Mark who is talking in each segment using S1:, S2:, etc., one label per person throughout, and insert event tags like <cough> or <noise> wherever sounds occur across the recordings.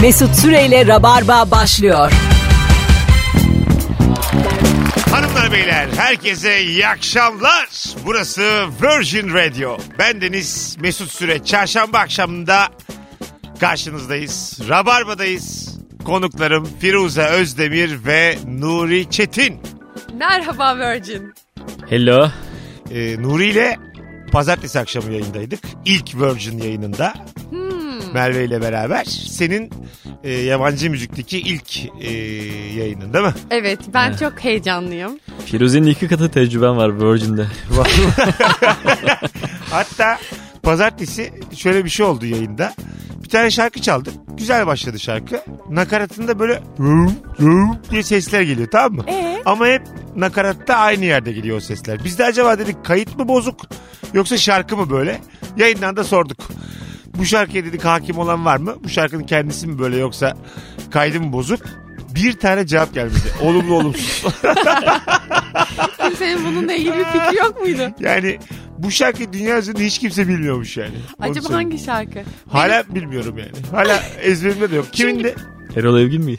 S1: Mesut Süreyle Rabarba başlıyor.
S2: Hanımlar beyler herkese iyi akşamlar. Burası Virgin Radio. Ben Deniz Mesut Süre. Çarşamba akşamında karşınızdayız. Rabarba'dayız. Konuklarım Firuze Özdemir ve Nuri Çetin.
S3: Merhaba Virgin.
S4: Hello.
S2: Ee, Nuri ile pazartesi akşamı yayındaydık. İlk Virgin yayınında. Merve ile beraber. Senin e, yabancı müzikteki ilk e, yayının değil mi?
S3: Evet ben çok heyecanlıyım.
S4: Firuze'nin iki katı tecrüben var Virgin'de.
S2: Hatta pazartesi şöyle bir şey oldu yayında. Bir tane şarkı çaldı. Güzel başladı şarkı. Nakaratında böyle diye sesler geliyor tamam mı? Ama hep nakaratta aynı yerde geliyor o sesler. Biz de acaba dedik kayıt mı bozuk yoksa şarkı mı böyle? Yayından da sorduk. Bu şarkıya dedik hakim olan var mı? Bu şarkının kendisi mi böyle yoksa kaydı mı bozuk? Bir tane cevap gelmedi. Olumlu olumsuz.
S3: Kimsenin bununla ilgili bir fikri
S2: <laughs>
S3: yok muydu?
S2: yani bu şarkı dünya üzerinde hiç kimse bilmiyormuş yani. Onu
S3: Acaba
S2: söyleyeyim.
S3: hangi şarkı?
S2: Hala bilmiyorum yani. Hala ezberimde de yok. Kimin de?
S4: Erol Evgin mi?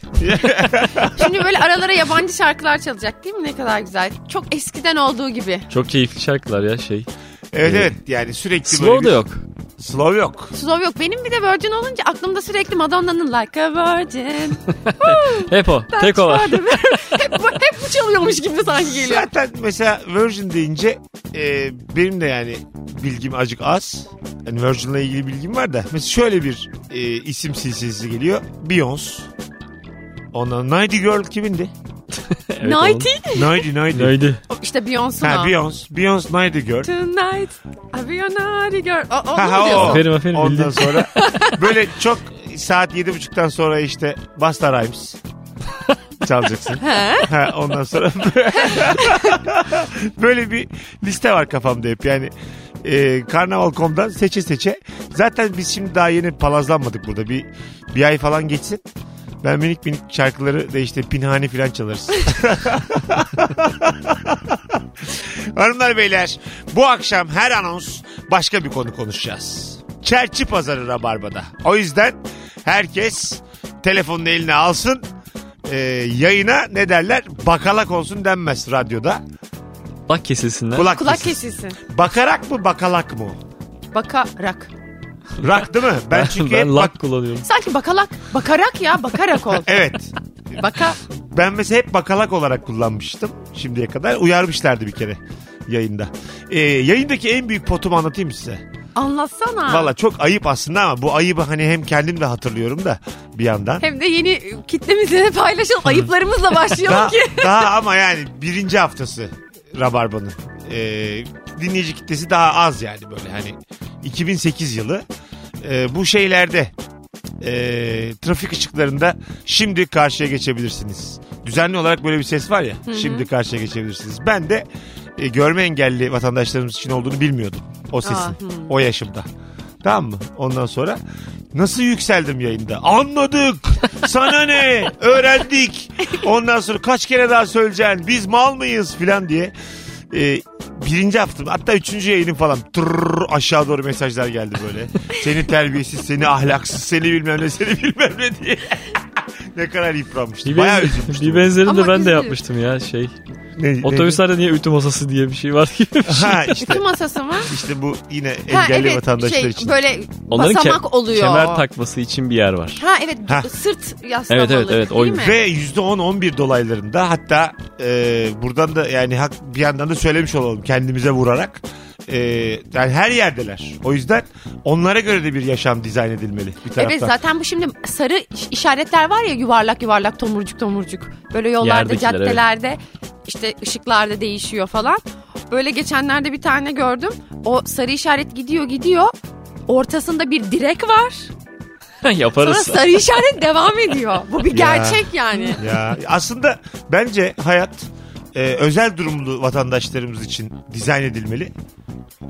S3: Şimdi böyle aralara yabancı şarkılar çalacak değil mi? Ne kadar güzel. Çok eskiden olduğu gibi.
S4: Çok keyifli şarkılar ya şey.
S2: Evet evet yani sürekli böyle
S4: Slow da
S2: bir-
S4: yok.
S2: Slow yok.
S3: Slow yok. Benim bir de Virgin olunca aklımda sürekli Madonna'nın Like a Virgin.
S4: Hep o. Tek o var.
S3: Vardı <laughs> mı? hep, bu, hep bu çalıyormuş gibi sanki geliyor.
S2: Zaten mesela Virgin deyince e, benim de yani bilgim acık az. Yani Virgin'la ilgili bilgim var da. Mesela şöyle bir e, isim silsilesi geliyor. Beyoncé. Ondan Nighty Girl kimindi?
S4: <laughs> Evet,
S3: Nighty.
S2: Nighty
S4: onun.
S2: Nighty.
S4: Nighty.
S3: İşte Beyoncé
S2: Ha
S3: o.
S2: Beyoncé. Beyoncé Nighty Girl.
S3: Tonight I be a naughty girl. O, onu
S2: Ha,
S3: mu
S2: ha, o.
S3: diyorsun?
S4: Aferin aferin
S2: Ondan
S4: bildin. <laughs>
S2: sonra böyle çok saat yedi buçuktan sonra işte Basta Rhymes çalacaksın. ha, ondan sonra <laughs> böyle bir liste var kafamda hep yani. E, Karnaval.com'dan seçe seçe. Zaten biz şimdi daha yeni palazlanmadık burada. Bir, bir ay falan geçsin. Ben minik minik şarkıları da işte pinhani falan çalarız. Hanımlar beyler bu akşam her anons başka bir konu konuşacağız. Çerçi pazarı Rabarba'da. O yüzden herkes telefonunu eline alsın. Ee, yayına ne derler? Bakalak olsun denmez radyoda.
S4: Bak kesilsinler.
S2: Kulak,
S3: Kulak
S2: kesilsin.
S3: kesilsin.
S2: Bakarak mı bakalak mı?
S3: Bakarak.
S2: Rak değil mi? Ben çünkü hep
S4: <laughs> ben
S2: bak...
S4: lak kullanıyorum.
S3: Sanki bakalak. Bakarak ya
S2: <laughs>
S3: bakarak ol.
S2: Evet.
S3: Baka.
S2: Ben mesela hep bakalak olarak kullanmıştım şimdiye kadar. Uyarmışlardı bir kere yayında. Ee, yayındaki en büyük potumu anlatayım size.
S3: Anlatsana.
S2: Valla çok ayıp aslında ama bu ayıbı hani hem kendim de hatırlıyorum da bir yandan.
S3: Hem de yeni kitlemizle de paylaşalım. Ayıplarımızla başlayalım
S2: Daha,
S3: ki.
S2: <laughs> daha ama yani birinci haftası Rabarba'nın. Ee, dinleyici kitlesi daha az yani böyle hani 2008 yılı. Ee, bu şeylerde ee, trafik ışıklarında şimdi karşıya geçebilirsiniz. Düzenli olarak böyle bir ses var ya şimdi karşıya geçebilirsiniz. Ben de e, görme engelli vatandaşlarımız için olduğunu bilmiyordum o sesin
S3: Aa,
S2: o yaşımda. Tamam mı? Ondan sonra nasıl yükseldim yayında? Anladık. Sana ne? Öğrendik. Ondan sonra kaç kere daha söyleyeceksin? Biz mal mıyız filan diye. Ee, birinci haftam hatta üçüncü yayınım falan Tırrrr aşağı doğru mesajlar geldi böyle. Seni terbiyesiz, seni ahlaksız, seni bilmem ne, seni bilmem ne diye. <laughs> ne kadar yıpranmıştım.
S4: Bir,
S2: Bayağı
S4: benzer-
S2: üzülmüştüm.
S4: bir benzerini
S3: Ama
S4: de ben de
S3: üzülüyor.
S4: yapmıştım ya şey.
S2: Ne- ne-
S4: Otobüslerde niye ütü masası diye bir şey var ki.
S2: Ha işte,
S3: Ütü masası mı?
S2: işte bu yine <laughs> engelli vatandaşlar
S3: şey,
S2: için.
S3: Böyle
S4: <laughs> Onların ke-
S3: basamak oluyor.
S4: kemer takması için bir yer var.
S3: Ha evet
S2: Ha.
S3: sırt yaslamalı.
S4: Evet, evet, evet, o-
S3: Değil mi?
S2: Ve %10-11 dolaylarında hatta e, buradan da yani hak, bir yandan da söylemiş olalım kendimize vurarak. E, yani her yerdeler. O yüzden onlara göre de bir yaşam dizayn edilmeli bir taraftan.
S3: Evet zaten bu şimdi sarı iş- işaretler var ya yuvarlak yuvarlak tomurcuk tomurcuk. Böyle yollarda
S4: Yerdekiler, evet.
S3: caddelerde işte ışıklarda değişiyor falan. Böyle geçenlerde bir tane gördüm. O sarı işaret gidiyor gidiyor. Ortasında bir direk var. Sonra
S4: <laughs> Yaparız.
S3: sarı işaret devam ediyor. Bu
S2: Ya.
S3: bir gerçek yani.
S2: <laughs> Ya aslında bence hayat e, özel durumlu vatandaşlarımız için dizayn edilmeli.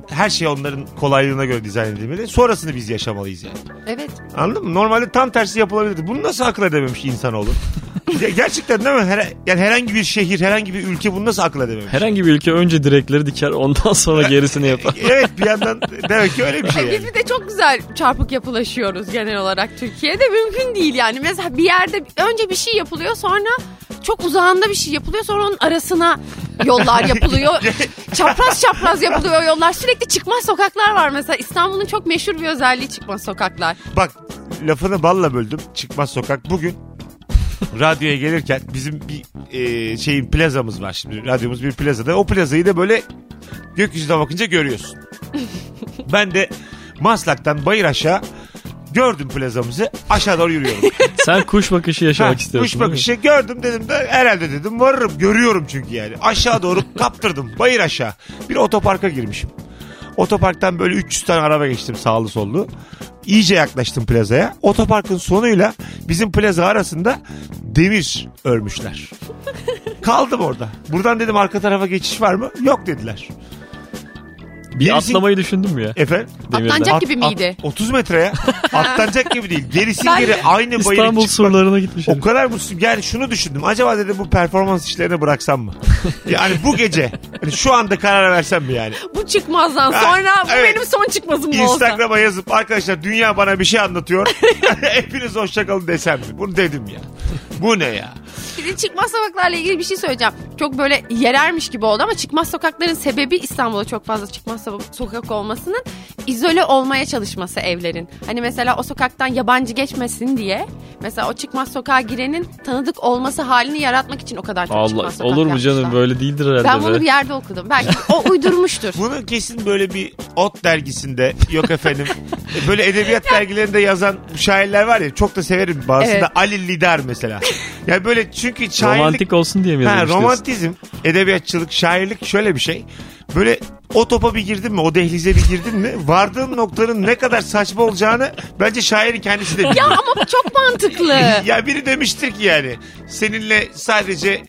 S2: Her şey onların kolaylığına göre dizayn edilmeli. Sonrasını biz yaşamalıyız yani.
S3: Evet.
S2: Anladın mı? Normalde tam tersi yapılabilirdi. Bunu nasıl akıl edememiş insanoğlu? Ya gerçekten değil mi? Her- yani herhangi bir şehir, herhangi bir ülke bunu nasıl akla dememiş?
S4: Herhangi bir ülke önce direkleri diker ondan sonra
S2: <laughs>
S4: gerisini yapar.
S2: Evet bir yandan demek ki öyle bir şey
S3: Biz
S2: yani.
S3: bir de çok güzel çarpık yapılaşıyoruz genel olarak Türkiye'de mümkün değil yani. Mesela bir yerde önce bir şey yapılıyor sonra çok uzağında bir şey yapılıyor sonra onun arasına yollar
S2: <laughs>
S3: yapılıyor. çapraz çapraz yapılıyor yollar. Sürekli çıkmaz sokaklar var mesela. İstanbul'un çok meşhur bir özelliği çıkmaz sokaklar.
S2: Bak lafını balla böldüm. Çıkmaz sokak bugün radyoya gelirken bizim bir e, şeyin plazamız var şimdi. Radyomuz bir plazada. O plazayı da böyle gökyüzüne bakınca görüyorsun. ben de Maslak'tan bayır aşağı gördüm plazamızı. Aşağı doğru yürüyorum.
S4: Sen kuş bakışı yaşamak
S2: Ha,
S4: istiyorsun.
S2: Kuş
S4: değil mi?
S2: bakışı gördüm dedim de herhalde dedim varırım görüyorum çünkü yani. Aşağı
S4: <laughs>
S2: doğru kaptırdım bayır aşağı. Bir otoparka girmişim. Otoparktan böyle 300 tane araba geçtim sağlı sollu. İyice yaklaştım plazaya. Otoparkın sonuyla bizim plaza arasında demir örmüşler. Kaldım orada. Buradan dedim arka tarafa geçiş var mı? Yok dediler.
S4: Bir
S2: Gerisi-
S4: atlamayı düşündün mü ya?
S2: Efendim?
S4: Demirden.
S3: Atlanacak
S2: At-
S3: gibi
S2: at-
S3: miydi?
S2: 30 metre
S3: <laughs>
S2: ya. Atlanacak gibi değil. Gerisin
S3: Ben-
S2: geri aynı bayırın
S4: İstanbul
S2: çıkma-
S4: surlarına gitmiş.
S2: O kadar mutsuz. Yani şunu düşündüm. Acaba dedim bu performans işlerini bıraksam mı? yani bu gece. Hani şu anda karar versem mi yani?
S3: Bu çıkmazdan
S2: Ha,
S3: sonra bu
S2: evet.
S3: benim son çıkmazım bu olsa.
S2: Instagram'a yazıp arkadaşlar dünya bana bir şey anlatıyor. <laughs> Hepiniz hoşçakalın desem mi? Bunu dedim ya. Bu ne ya?
S3: Bir de çıkmaz sokaklarla ilgili bir şey söyleyeceğim. Çok böyle yerermiş gibi oldu ama çıkmaz sokakların sebebi İstanbul'da çok fazla çıkmaz so- sokak olmasının izole olmaya çalışması evlerin. Hani mesela o sokaktan yabancı geçmesin diye mesela o çıkmaz sokağa girenin tanıdık olması halini yaratmak için o kadar çok
S4: Allah
S3: çıkmaz sokak
S4: olur mu canım
S3: yapmışlar.
S4: böyle değildir herhalde.
S3: Ben
S4: be.
S3: bunu bir yerde okudum. Belki o
S4: <laughs>
S3: uydurmuştur.
S2: Bunu kesin böyle bir ot dergisinde yok efendim. Böyle edebiyat dergilerinde yazan şairler var ya çok da severim bazısında
S3: Evet.
S2: Ali Lidar mesela. Yani böyle çünkü şairlik
S4: Romantik olsun diye mi
S2: Ha,
S4: yazılmış diyorsun?
S2: romantizm, edebiyatçılık, şairlik şöyle bir şey. Böyle o topa bir girdin mi, o dehlize bir girdin mi vardığın noktanın ne kadar saçma olacağını bence şairin kendisi de biliyor.
S3: ya
S2: <laughs> Ya,
S3: ama bu çok mantıklı.
S2: biri demiştir ki yani seninle sadece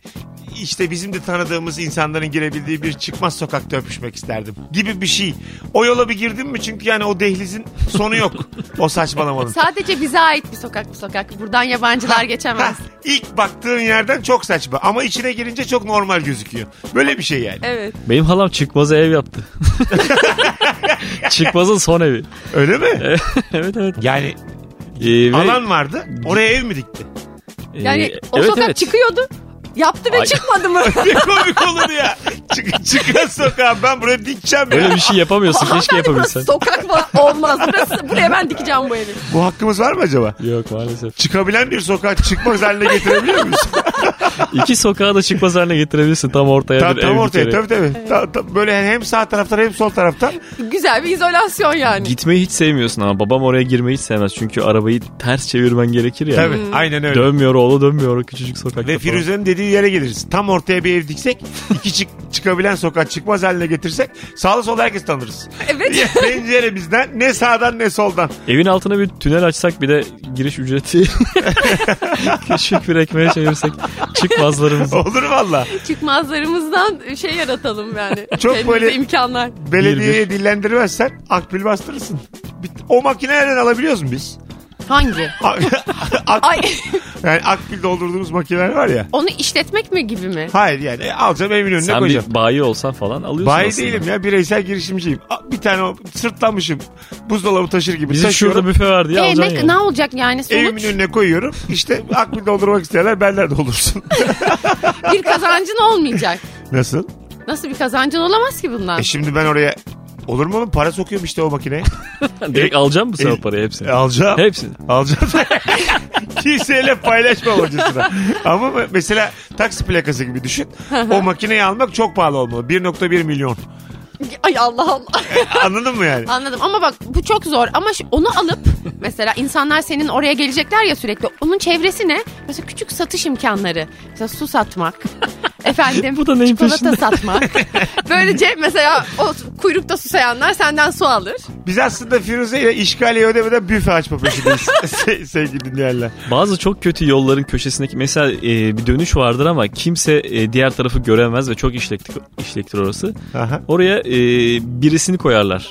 S2: işte bizim de tanıdığımız insanların girebildiği bir çıkmaz sokakta öpüşmek isterdim gibi bir şey. O yola bir girdin mi çünkü yani o dehlizin sonu yok. O saçmalamanın.
S3: Sadece bize ait bir sokak bu sokak. Buradan yabancılar geçemez.
S2: Ha, ilk baktığın yerden çok saçma ama içine girince çok normal gözüküyor. Böyle bir şey yani.
S3: Evet.
S4: Benim halam çıkmaza ev yaptı.
S2: <laughs>
S4: Çıkmazın son evi.
S2: Öyle mi? <laughs>
S4: evet evet.
S2: Yani
S4: Ee, ve-
S2: alan vardı. Oraya ev mi <laughs> dikti?
S4: ee,
S3: Yani o sokak çıkıyordu. Yaptı ve
S4: Ay.
S3: çıkmadı
S4: <laughs>
S3: mı?
S2: Ne komik olur ya. Çık, çıkan sokağa ben buraya dikeceğim ya.
S4: Böyle bir
S3: <laughs>
S4: şey yapamıyorsun. keşke
S3: Hanımefendi burası
S4: yapabilsen.
S3: sokak falan olmaz. Burası, buraya ben dikeceğim bu evi.
S2: şey- Bu hakkımız var mı acaba?
S4: Yok maalesef.
S2: Çıkabilen bir sokağa çıkmaz haline getirebiliyor <laughs> muyuz?
S4: İki sokağa da çıkmaz haline getirebilirsin. Tam ortaya
S2: tam,
S4: bir
S2: tam
S4: ev
S2: ortaya
S4: dikeri.
S2: tabii tabii. Tam- tam böyle hem sağ taraftan hem sol taraftan.
S3: Güzel bir izolasyon yani.
S4: Gitmeyi hiç sevmiyorsun ama babam oraya girmeyi hiç sevmez. Çünkü arabayı ters çevirmen gerekir ya.
S2: Tabii aynen öyle.
S4: Dönmüyor oğlu dönmüyor o küçücük sokakta.
S2: Ve
S4: falan.
S2: Firuze'nin dediği yere geliriz. Tam ortaya bir ev diksek, iki çık, çıkabilen sokağa çıkmaz haline getirsek sağlı sol herkes <laughs> tanırız.
S3: Evet.
S2: Pencere bizden ne sağdan ne soldan.
S4: Evin altına bir tünel açsak bir de
S2: <laughs>
S4: giriş ücreti küçük bir ekmeğe çevirsek çıkmazlarımız.
S2: Olur valla.
S3: Çıkmazlarımızdan şey yaratalım yani.
S2: Çok
S3: Kendimize
S2: böyle-
S3: imkanlar.
S2: Belediyeye dillendirmezsen akbil bastırırsın. Bit- O makine nereden alabiliyoruz mu biz? <laughs>
S3: Hangi?
S2: A- Ak-
S3: Ay
S2: yani akbil doldurduğumuz makineler var ya.
S3: onu işletmek mi gibi mi?
S2: Hayır yani e, alacağım evimin önüne
S4: Sen
S2: koyacağım.
S4: bir bayi olsan falan alıyorsun
S2: Bayi
S4: aslında.
S2: değilim ya bireysel girişimciyim. A- Bir tane o- sırtlanmışım. Buzdolabı taşır gibi
S4: Bizim
S2: taşıyorum.
S4: şurada büfe var diye
S3: E,
S4: alacaksın
S3: ne,
S4: yani.
S3: ne olacak yani
S2: Evimin
S3: sonuç?
S2: önüne koyuyorum. İşte akbil doldurmak isteyenler benler doldursun. <laughs>
S3: bir kazancın olmayacak.
S2: Nasıl?
S3: Nasıl bir kazancın olamaz ki bundan?
S2: E şimdi ben oraya olur mu oğlum? Para sokuyorum işte o makineye.
S4: Direkt alacak mısın
S2: E,
S4: o parayı hepsini?
S2: E, alacağım.
S4: Hepsini.
S2: Alacağım. <laughs> Kimseyle paylaşmam acısına. Ama me- mesela taksi plakası gibi düşün. o makineyi almak çok pahalı olmalı. 1.1 milyon.
S3: Ay Allah Allah.
S2: Anladın mı yani?
S3: Anladım ama bak bu çok zor ama şu- onu <laughs> alıp mesela insanlar senin oraya gelecekler ya sürekli onun çevresi ne? Mesela küçük satış imkanları mesela su <laughs> satmak efendim
S4: Bu da neyin
S3: çikolata <laughs>
S4: peşinde?
S3: satmak böylece mesela o kuyrukta susayanlar senden su alır.
S2: Biz aslında Firuze ile işgaliye ödemeden büfe açma peşindeyiz. <laughs> Se- sevgili dinleyenler.
S4: Bazı çok kötü yolların köşesindeki mesela e, bir dönüş vardır ama kimse e, diğer tarafı göremez ve çok işlektir, işlektir orası.
S2: Aha.
S4: Oraya e, birisini koyarlar.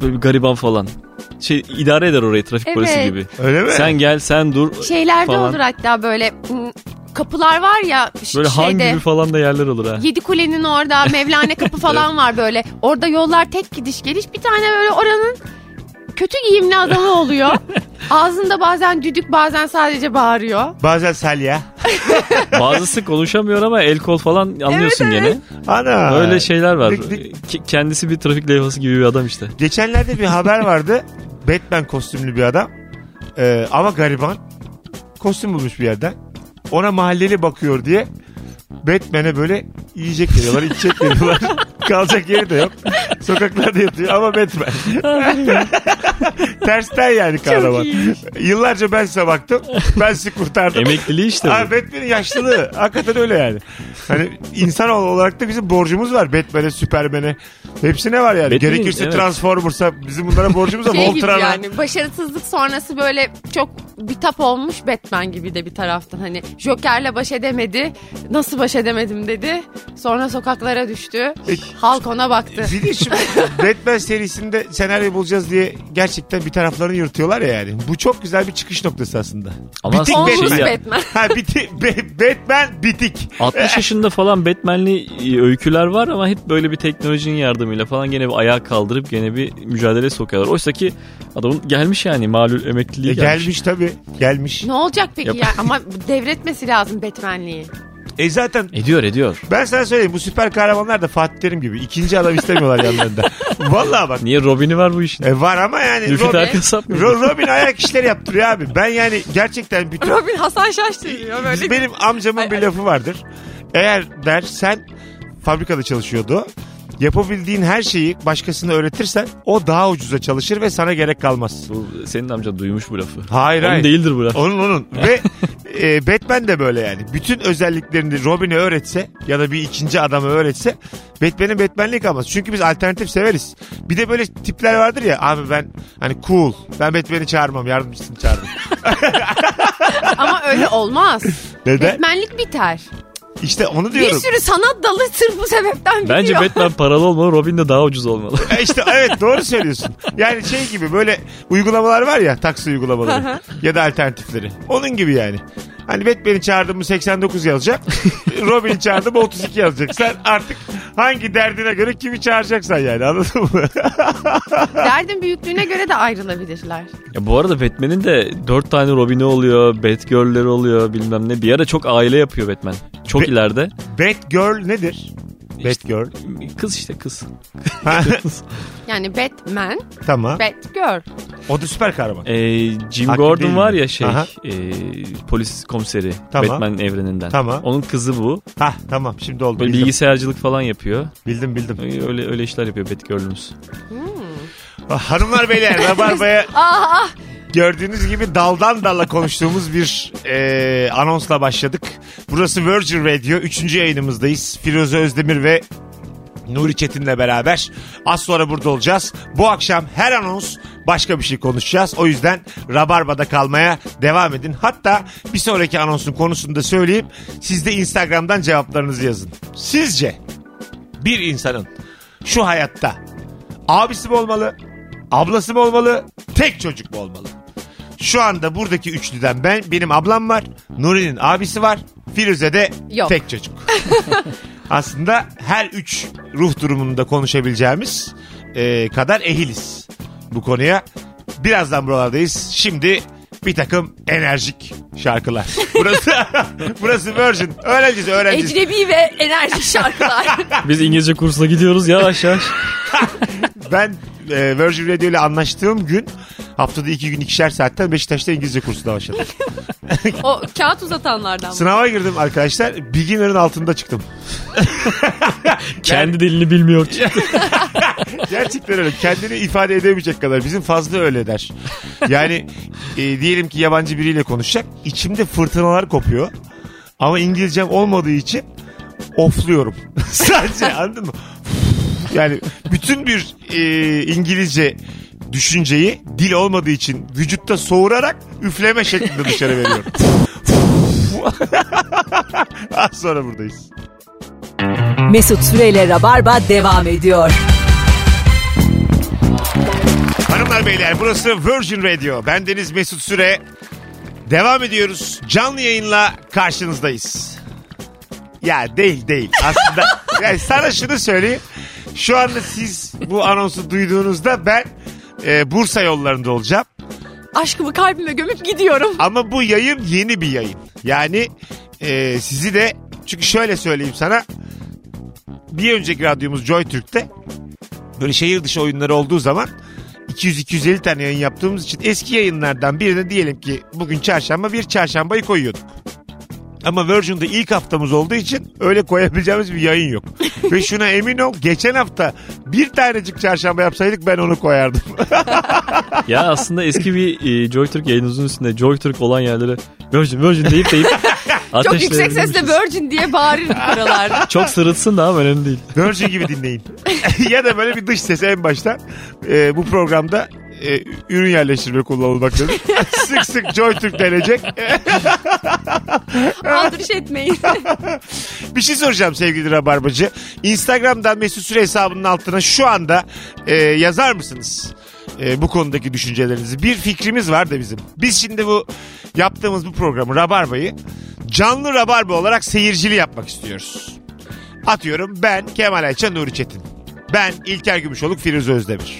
S4: Böyle bir gariban falan. Şey idare eder orayı trafik
S3: Evet.
S4: polisi gibi.
S2: Öyle mi?
S4: Sen gel sen dur
S3: Şeyler de
S4: falan.
S3: olur hatta böyle ım, kapılar var ya ş-
S4: Böyle han
S3: şeyde.
S4: gibi falan da yerler olur ha.
S3: Yedi Kule'nin orada Mevlane kapı falan var böyle. Orada yollar tek gidiş geliş. Bir tane böyle oranın kötü giyimli adamı oluyor. Ağzında bazen düdük bazen sadece bağırıyor.
S2: Bazen salya.
S4: Bazısı konuşamıyor ama el kol falan anlıyorsun gene.
S2: Ana.
S4: Öyle şeyler var.
S2: Dik dik.
S4: Ki- Kendisi bir trafik levhası gibi bir adam işte.
S2: Geçenlerde bir haber vardı. Batman kostümlü bir adam. Ee, ama gariban. Kostüm bulmuş bir yerden. Ona mahalleli bakıyor diye Batman'e böyle yiyecek veriyorlar, içecek veriyorlar. Kalacak yeri de yok. Sokaklarda yatıyor ama Batman. Tersten yani kahraman. Yıllarca ben size baktım. Ben sizi kurtardım.
S4: Emekliliği işte. bu.
S2: Abi Batman'in
S4: <laughs>
S2: yaşlılığı. Hakikaten öyle yani. Hani insan olarak da bizim borcumuz var. Batman'e, Superman'e. Hepsine var yani.
S4: Batman'in,
S2: Gerekirse
S4: evet.
S2: Transformers'a bizim bunlara borcumuz var.
S3: Şey gibi
S2: Voltran'a.
S3: yani başarısızlık sonrası böyle çok bitap olmuş Batman gibi de bir taraftan hani Joker'le baş edemedi. Nasıl baş edemedim dedi. Sonra sokaklara düştü.
S2: E-
S3: Halk ona baktı.
S2: Bir de şimdi Batman serisinde senaryo bulacağız diye gerçekten bir taraflarını yırtıyorlar ya yani. Bu çok güzel bir çıkış noktası aslında.
S4: Ama
S2: bitik
S4: aslında şey
S3: Olmuş
S2: Batman.
S4: ya-
S3: Batman.
S2: Ha biti, Be- Batman bitik. E,
S4: 60 yaşında falan Batman'li e, öyküler var ama hep böyle bir teknolojinin yardımıyla falan gene bir ayağa kaldırıp gene bir mücadele sokuyorlar. Oysa ki adamın gelmiş yani malul
S2: E,
S4: emekliliği gelmiş.
S2: gelmiş tabii. Gelmiş.
S3: Ne olacak peki
S4: Yap-
S3: ya? Ama devretmesi lazım Batman'liği.
S2: E zaten
S4: Ediyor ediyor.
S2: ben sana söyleyeyim bu süper kahramanlar da Fatih Terim gibi. ikinci adam istemiyorlar
S4: <laughs>
S2: yanlarında. Vallahi bak.
S4: Niye Robin'i var bu işin?
S2: E var ama yani
S4: Müfit
S2: Robin,
S4: Arkasap mı?
S2: Ro- Robin ayak işleri yaptırıyor abi. Ben yani gerçekten bütün
S3: Robin Hasan Şaş diyor böyle.
S2: Biz- benim amcamın bir lafı vardır. Eğer der sen fabrikada çalışıyordu. Yapabildiğin her şeyi başkasına öğretirsen o daha ucuza çalışır ve sana gerek kalmaz.
S4: Bu senin amca duymuş bu lafı.
S2: Hayır
S4: Onun
S2: hayır.
S4: değildir bu laf.
S2: Onun onun. Ve e, Batman de böyle yani. Bütün özelliklerini Robin'e öğretse ya da bir ikinci adamı öğretse Batman'in Batman'liği kalmaz. Çünkü biz alternatif severiz. Bir de böyle tipler vardır ya abi ben hani cool. Ben Batman'i çağırmam yardımcısını çağırırım.
S3: Ama öyle olmaz.
S2: Neden?
S3: Batman'lik biter.
S2: İşte onu
S3: Bir
S2: diyorum.
S3: sürü sanat dalı sırf bu sebepten bitiyor.
S4: Bence Batman paralı olmalı Robin de daha
S2: <laughs>
S4: ucuz olmalı.
S2: E İşte evet doğru söylüyorsun. Yani şey gibi böyle uygulamalar var ya taksi uygulamaları ya da alternatifleri. Onun gibi yani. Hani Batman'i çağırdım mı 89 yazacak. <laughs> Robin'i çağırdım mı 32 yazacak. Sen artık hangi derdine göre kimi çağıracaksan yani anladın mı?
S3: Derdin büyüklüğüne göre de ayrılabilirler.
S4: Ya bu arada Batman'in de 4 tane Robin'i oluyor, Batgirl'leri oluyor bilmem ne. Bir ara çok aile yapıyor Batman. Çok
S2: Be-
S4: ileride.
S2: Batgirl nedir? Batgirl.
S4: Kız işte kız.
S2: <laughs> Ha,
S3: Yani Batman,
S2: tamam.
S3: Batgirl.
S2: O da süper kahraman.
S4: Ee, Jim
S2: Hakim
S4: Gordon
S2: değilim.
S4: var ya şey
S2: Aha.
S4: e, polis komiseri
S2: Tamam.
S4: Batman evreninden.
S2: Tamam.
S4: Onun kızı bu.
S2: Ha tamam şimdi oldu.
S4: Böyle
S2: Bildim
S4: bilgisayarcılık falan yapıyor.
S2: bildim. bildim.
S4: Ee, Öyle öyle işler yapıyor Batgirl'ümüz.
S2: Hanımlar beyler Rabarba'ya
S3: Aa, ah,
S2: Gördüğünüz gibi daldan dala konuştuğumuz bir e, anonsla başladık. Burası Virgin Radio. Üçüncü yayınımızdayız. Firuze Özdemir ve Nuri Çetin'le beraber. Az sonra burada olacağız. Bu akşam her anons başka bir şey konuşacağız. O yüzden Rabarba'da kalmaya devam edin. Hatta bir sonraki anonsun konusunu da söyleyeyim. Siz de Instagram'dan cevaplarınızı yazın. Sizce bir insanın şu hayatta abisi mi olmalı, ablası mı olmalı, tek çocuk mu olmalı? Şu anda buradaki üçlüden ben benim ablam var, Nuri'nin abisi var, Firuze de
S3: Yok.
S2: tek çocuk. Aslında her üç ruh durumunda konuşabileceğimiz e, kadar ehiliz bu konuya. Birazdan buralardayız. Şimdi bir takım enerjik şarkılar. Burası <laughs> burası Virgin. Öğreneceğiz öğreneceğiz.
S3: ecnebi ve enerjik şarkılar.
S2: Ah!
S4: Biz İngilizce kursuna gidiyoruz
S2: <laughs>
S4: yavaş yavaş.
S2: Ben e, Virgin Radio ile anlaştığım gün haftada iki gün ikişer saatten Beşiktaş'ta İngilizce kursuna başladım.
S3: <laughs> o kağıt uzatanlardan.
S2: Sınava girdim arkadaşlar. Beginner'ın altında çıktım.
S4: Kendi
S2: <laughs>
S4: dilini bilmiyor.
S2: Gerçekten öyle. Kendini ifade edemeyecek kadar. Bizim fazla öyle der. Yani e, diyelim ki yabancı biriyle konuşacak. İçimde fırtınalar kopuyor. Ama İngilizcem olmadığı için ofluyorum. <laughs> Sadece anladın mı? Yani bütün bir e, İngilizce düşünceyi dil olmadığı için vücutta soğurarak üfleme şeklinde dışarı veriyorum. Az sonra buradayız.
S1: Mesut Süreyle Rabarba devam ediyor.
S2: Hanımlar beyler burası Virgin Radio. Bendeniz Mesut Süre. Devam ediyoruz. Canlı yayınla karşınızdayız. Ya değil değil aslında. <laughs> yani sana şunu söyleyeyim. Şu anda siz bu anonsu duyduğunuzda ben e, Bursa yollarında olacağım.
S3: Aşkımı kalbime gömüp gidiyorum.
S2: Ama bu yayın yeni bir yayın. Yani e, sizi de çünkü şöyle söyleyeyim sana. Bir önceki radyomuz Joy Türk'te böyle şehir dışı oyunları olduğu zaman 200-250 tane yayın yaptığımız için eski yayınlardan birine diyelim ki bugün çarşamba bir çarşambayı koyuyorduk. Ama Virgin'de ilk haftamız olduğu için öyle koyabileceğimiz bir yayın yok. Ve şuna emin ol geçen hafta bir tanecik çarşamba yapsaydık ben onu koyardım.
S4: Ya aslında eski bir e, JoyTürk yayınımızın üstünde JoyTürk olan yerlere Virgin Virgin
S2: <laughs>
S4: deyip deyip
S3: Çok yüksek
S4: ateşleyebilirmişiz.
S3: sesle Virgin diye bağırırım
S4: <laughs>
S3: aralarda.
S4: Çok sırıtsın da ama önemli değil.
S2: Virgin gibi dinleyin. <laughs> ya da böyle bir dış ses en başta. Ee, bu programda e, ürün yerleştirme kullanılmak dedim. <laughs> sık sık JoyTürk denecek.
S3: Aldırış etmeyin.
S2: Bir şey soracağım sevgili Rabarbacı. Instagram'dan Mesut Süre hesabının altına şu anda e, yazar mısınız? E, bu konudaki düşüncelerinizi. Bir fikrimiz var da bizim. Biz şimdi bu yaptığımız bu programı Rabarba'yı canlı Rabarba olarak seyircili yapmak istiyoruz. Atıyorum ben Kemal Ayça Nuri Çetin. Ben İlker Gümüşoluk Firuze Özdemir.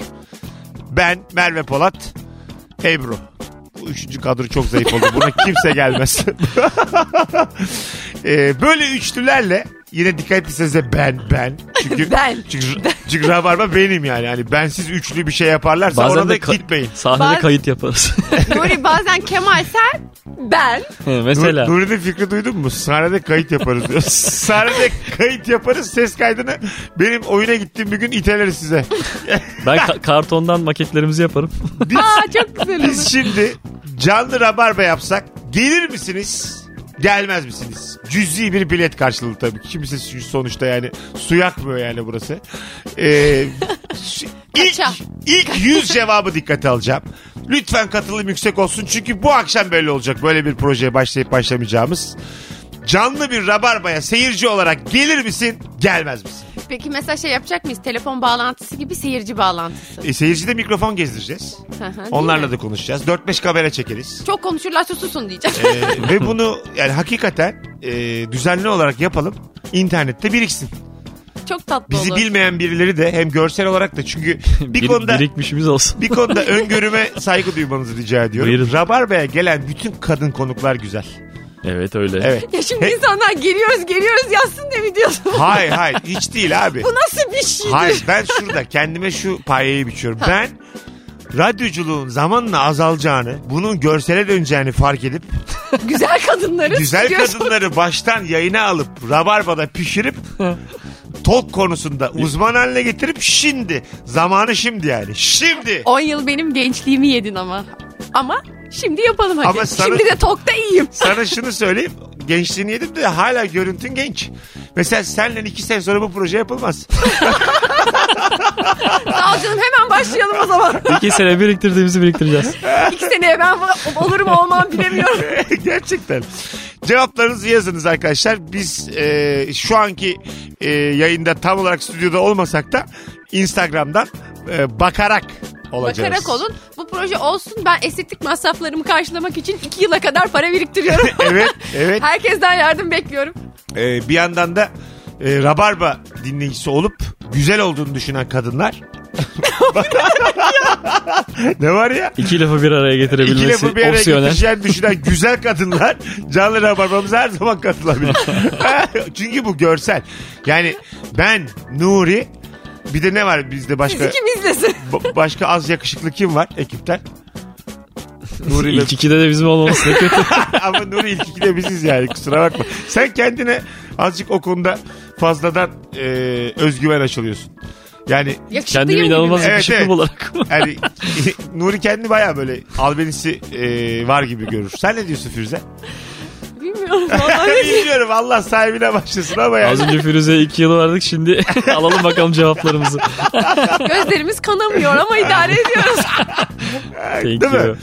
S2: Ben Merve Polat Ebru. Bu üçüncü kadro çok zayıf oldu.
S3: <laughs>
S2: Buna kimse gelmez. <laughs> Ee, böyle üçlülerle yine dikkat etsenize ben ben. Çünkü,
S3: Ben.
S2: Çünkü, çünkü rabarba benim yani. Hani bensiz üçlü bir şey yaparlarsa ona da
S4: ka-
S2: gitmeyin.
S4: sahnede
S3: Baz-
S4: kayıt <laughs> yaparız.
S3: Nuri bazen Kemal sen ben.
S4: Mesela.
S2: Nur- Nuri'nin fikri duydun mu? Sahnede kayıt yaparız diyor. Sahnede kayıt yaparız ses kaydını. Benim oyuna gittiğim bir gün iteleri size.
S4: Ben ka- kartondan maketlerimizi yaparım.
S2: Biz,
S3: Aa çok güzel olur.
S2: biz şimdi canlı rabarba yapsak gelir misiniz? Gelmez misiniz? Cüzi bir bilet karşılığı tabii. Kimse su- sonuçta yani su yakmıyor yani burası. Ee, ş- ilk,
S3: Kaça?
S2: ilk 100 cevabı dikkate alacağım. Lütfen katılım yüksek olsun. Çünkü bu akşam böyle olacak. Böyle bir projeye başlayıp başlamayacağımız. Canlı bir rabarbaya seyirci olarak gelir misin? Gelmez misin?
S3: <laughs> Peki mesela şey yapacak mıyız? Telefon bağlantısı gibi seyirci bağlantısı.
S2: E, seyircide mikrofon gezdireceğiz.
S3: Hı hı, değil mi?
S2: Onlarla da konuşacağız. 4-5 kamera çekeriz.
S3: Çok konuşurlarsa susun diyeceğim.
S2: Ee, ve bunu yani hakikaten e, düzenli olarak yapalım. İnternette biriksin.
S3: çok tatlı
S2: Bizi
S3: olur.
S2: bilmeyen birileri de hem görsel olarak da çünkü bir
S4: <laughs> Bir-
S2: konuda
S4: Birikmişimiz olsun.
S2: bir konuda öngörüme saygı duymanızı rica ediyorum.
S4: Buyurun.
S2: Rabarba'ya gelen bütün kadın konuklar güzel.
S4: Evet öyle.
S2: Evet.
S3: ya şimdi insanlar geliyoruz geliyoruz yazsın diye mi diyorsun?
S2: Hayır hayır hiç değil abi.
S3: Bu nasıl bir şey?
S2: Hayır ben şurada kendime şu payeyi biçiyorum. Ben radyoculuğun zamanla azalacağını, bunun görsele döneceğini fark edip
S3: Güzel kadınları
S2: güzel
S3: stüdyoya-
S2: kadınları baştan yayına alıp rabarbada pişirip tok konusunda uzman haline getirip şimdi zamanı şimdi yani şimdi
S3: 10 yıl benim gençliğimi yedin ama. Ama şimdi yapalım hadi.
S2: Ama sana-
S3: Şimdi de tokta iyiyim.
S2: sana şunu söyleyeyim gençliğini yedim de hala görüntün genç mesela senle iki sene sonra bu proje yapılmaz <laughs>
S3: Sağ ol canım hemen başlayalım
S2: <laughs>
S3: o zaman.
S4: <laughs> İki sene biriktirdiğimizi biriktireceğiz.
S3: İki seneye ben olur mu olmam bilemiyorum.
S2: gerçekten cevaplarınızı yazınız arkadaşlar biz e, şu anki e, yayında tam olarak stüdyoda olmasak da instagramdan e, bakarak olacağız
S3: Bakarak olun. Bu proje olsun. Ben estetik masraflarımı karşılamak için iki yıla kadar para
S2: <laughs>
S3: biriktiriyorum.
S2: <laughs> evet evet
S3: Herkesten yardım bekliyorum.
S2: Ee, bir yandan da e, Rabarba dinleyicisi olup güzel olduğunu düşünen kadınlar. <laughs> ne var ya?
S4: İki lafı bir araya
S2: İki
S4: getirebilmesi
S2: lafı bir araya
S4: opsiyonel.
S2: getirişen düşünen güzel kadınlar canlı rabarbamıza her zaman katılabilir. <laughs> Çünkü bu görsel. Yani ben, Nuri bir de ne var bizde
S3: Siz
S2: başka
S3: kim izlesin?
S2: ba- başka az yakışıklı kim var ekipten? Nuri ile-
S4: İlk ikide de bizim olmamız ne kötü.
S2: <laughs> Ama Nuri ilk ikide biziz yani kusura bakma. Sen kendine azıcık o konuda fazladan e, özgüven aşılıyorsun. Yani
S3: Yakışıklıyım
S4: <laughs> Kendimi
S3: gibi
S4: inanılmaz
S3: mi?
S2: Evet,
S4: yakışıklı
S2: evet.
S4: olarak.
S2: yani <laughs> Nuri kendi baya böyle albenisi e, var gibi görür. Sen ne diyorsun Firuze?
S3: Bilmiyorum vallahi.
S2: Bilmiyorum Allah sahibine başlasın ama yani.
S4: <laughs> Az önce Firuze'ye iki yıl verdik şimdi <laughs> alalım bakalım cevaplarımızı.
S3: Gözlerimiz kanamıyor
S2: <laughs>
S3: ama idare ediyoruz.
S4: Thank
S2: Değil mi?
S4: you.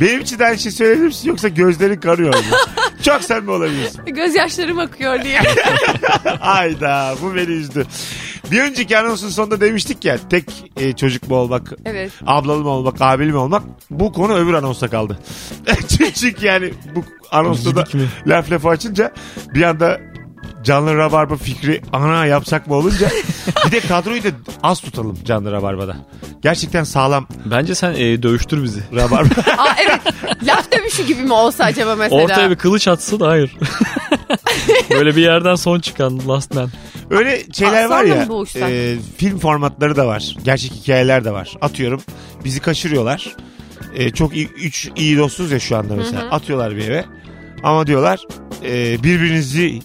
S2: Benim için de aynı şey söyleyebilir misin yoksa gözlerin kanıyor mu? Çok sen mi olabilirsin?
S3: Gözyaşlarım
S2: <laughs>
S3: akıyor diye.
S2: Ayda bu beni üzdü. Bir önceki anonsun sonunda demiştik ya tek e, çocuk mu olmak,
S3: Evet.
S2: ablalı mı olmak, abili mi olmak bu konu öbür anonsa kaldı. <laughs> Çünkü yani bu anonsta da
S4: Yedik mi?
S2: laf lafı açınca bir anda Canlı Rabarba fikri ana yapsak mı olunca bir de kadroyu da az tutalım Canlı Rabarba'da. Gerçekten sağlam
S4: Bence sen e, dövüştür bizi.
S2: Rabarba.
S3: Aa, evet. Laf dövüşü gibi mi olsa acaba mesela?
S4: Ortaya bir kılıç atsa da hayır. <laughs> Böyle bir yerden son çıkan Last Man.
S2: Öyle şeyler
S3: Aa,
S2: var
S3: sandın
S2: ya
S3: bu uçtan.
S2: e, film formatları da var. Gerçek hikayeler de var. Atıyorum bizi kaçırıyorlar. E, çok iyi, üç iyi dostuz ya şu anda mesela. Atıyorlar bir eve. Ama diyorlar e, birbirinizi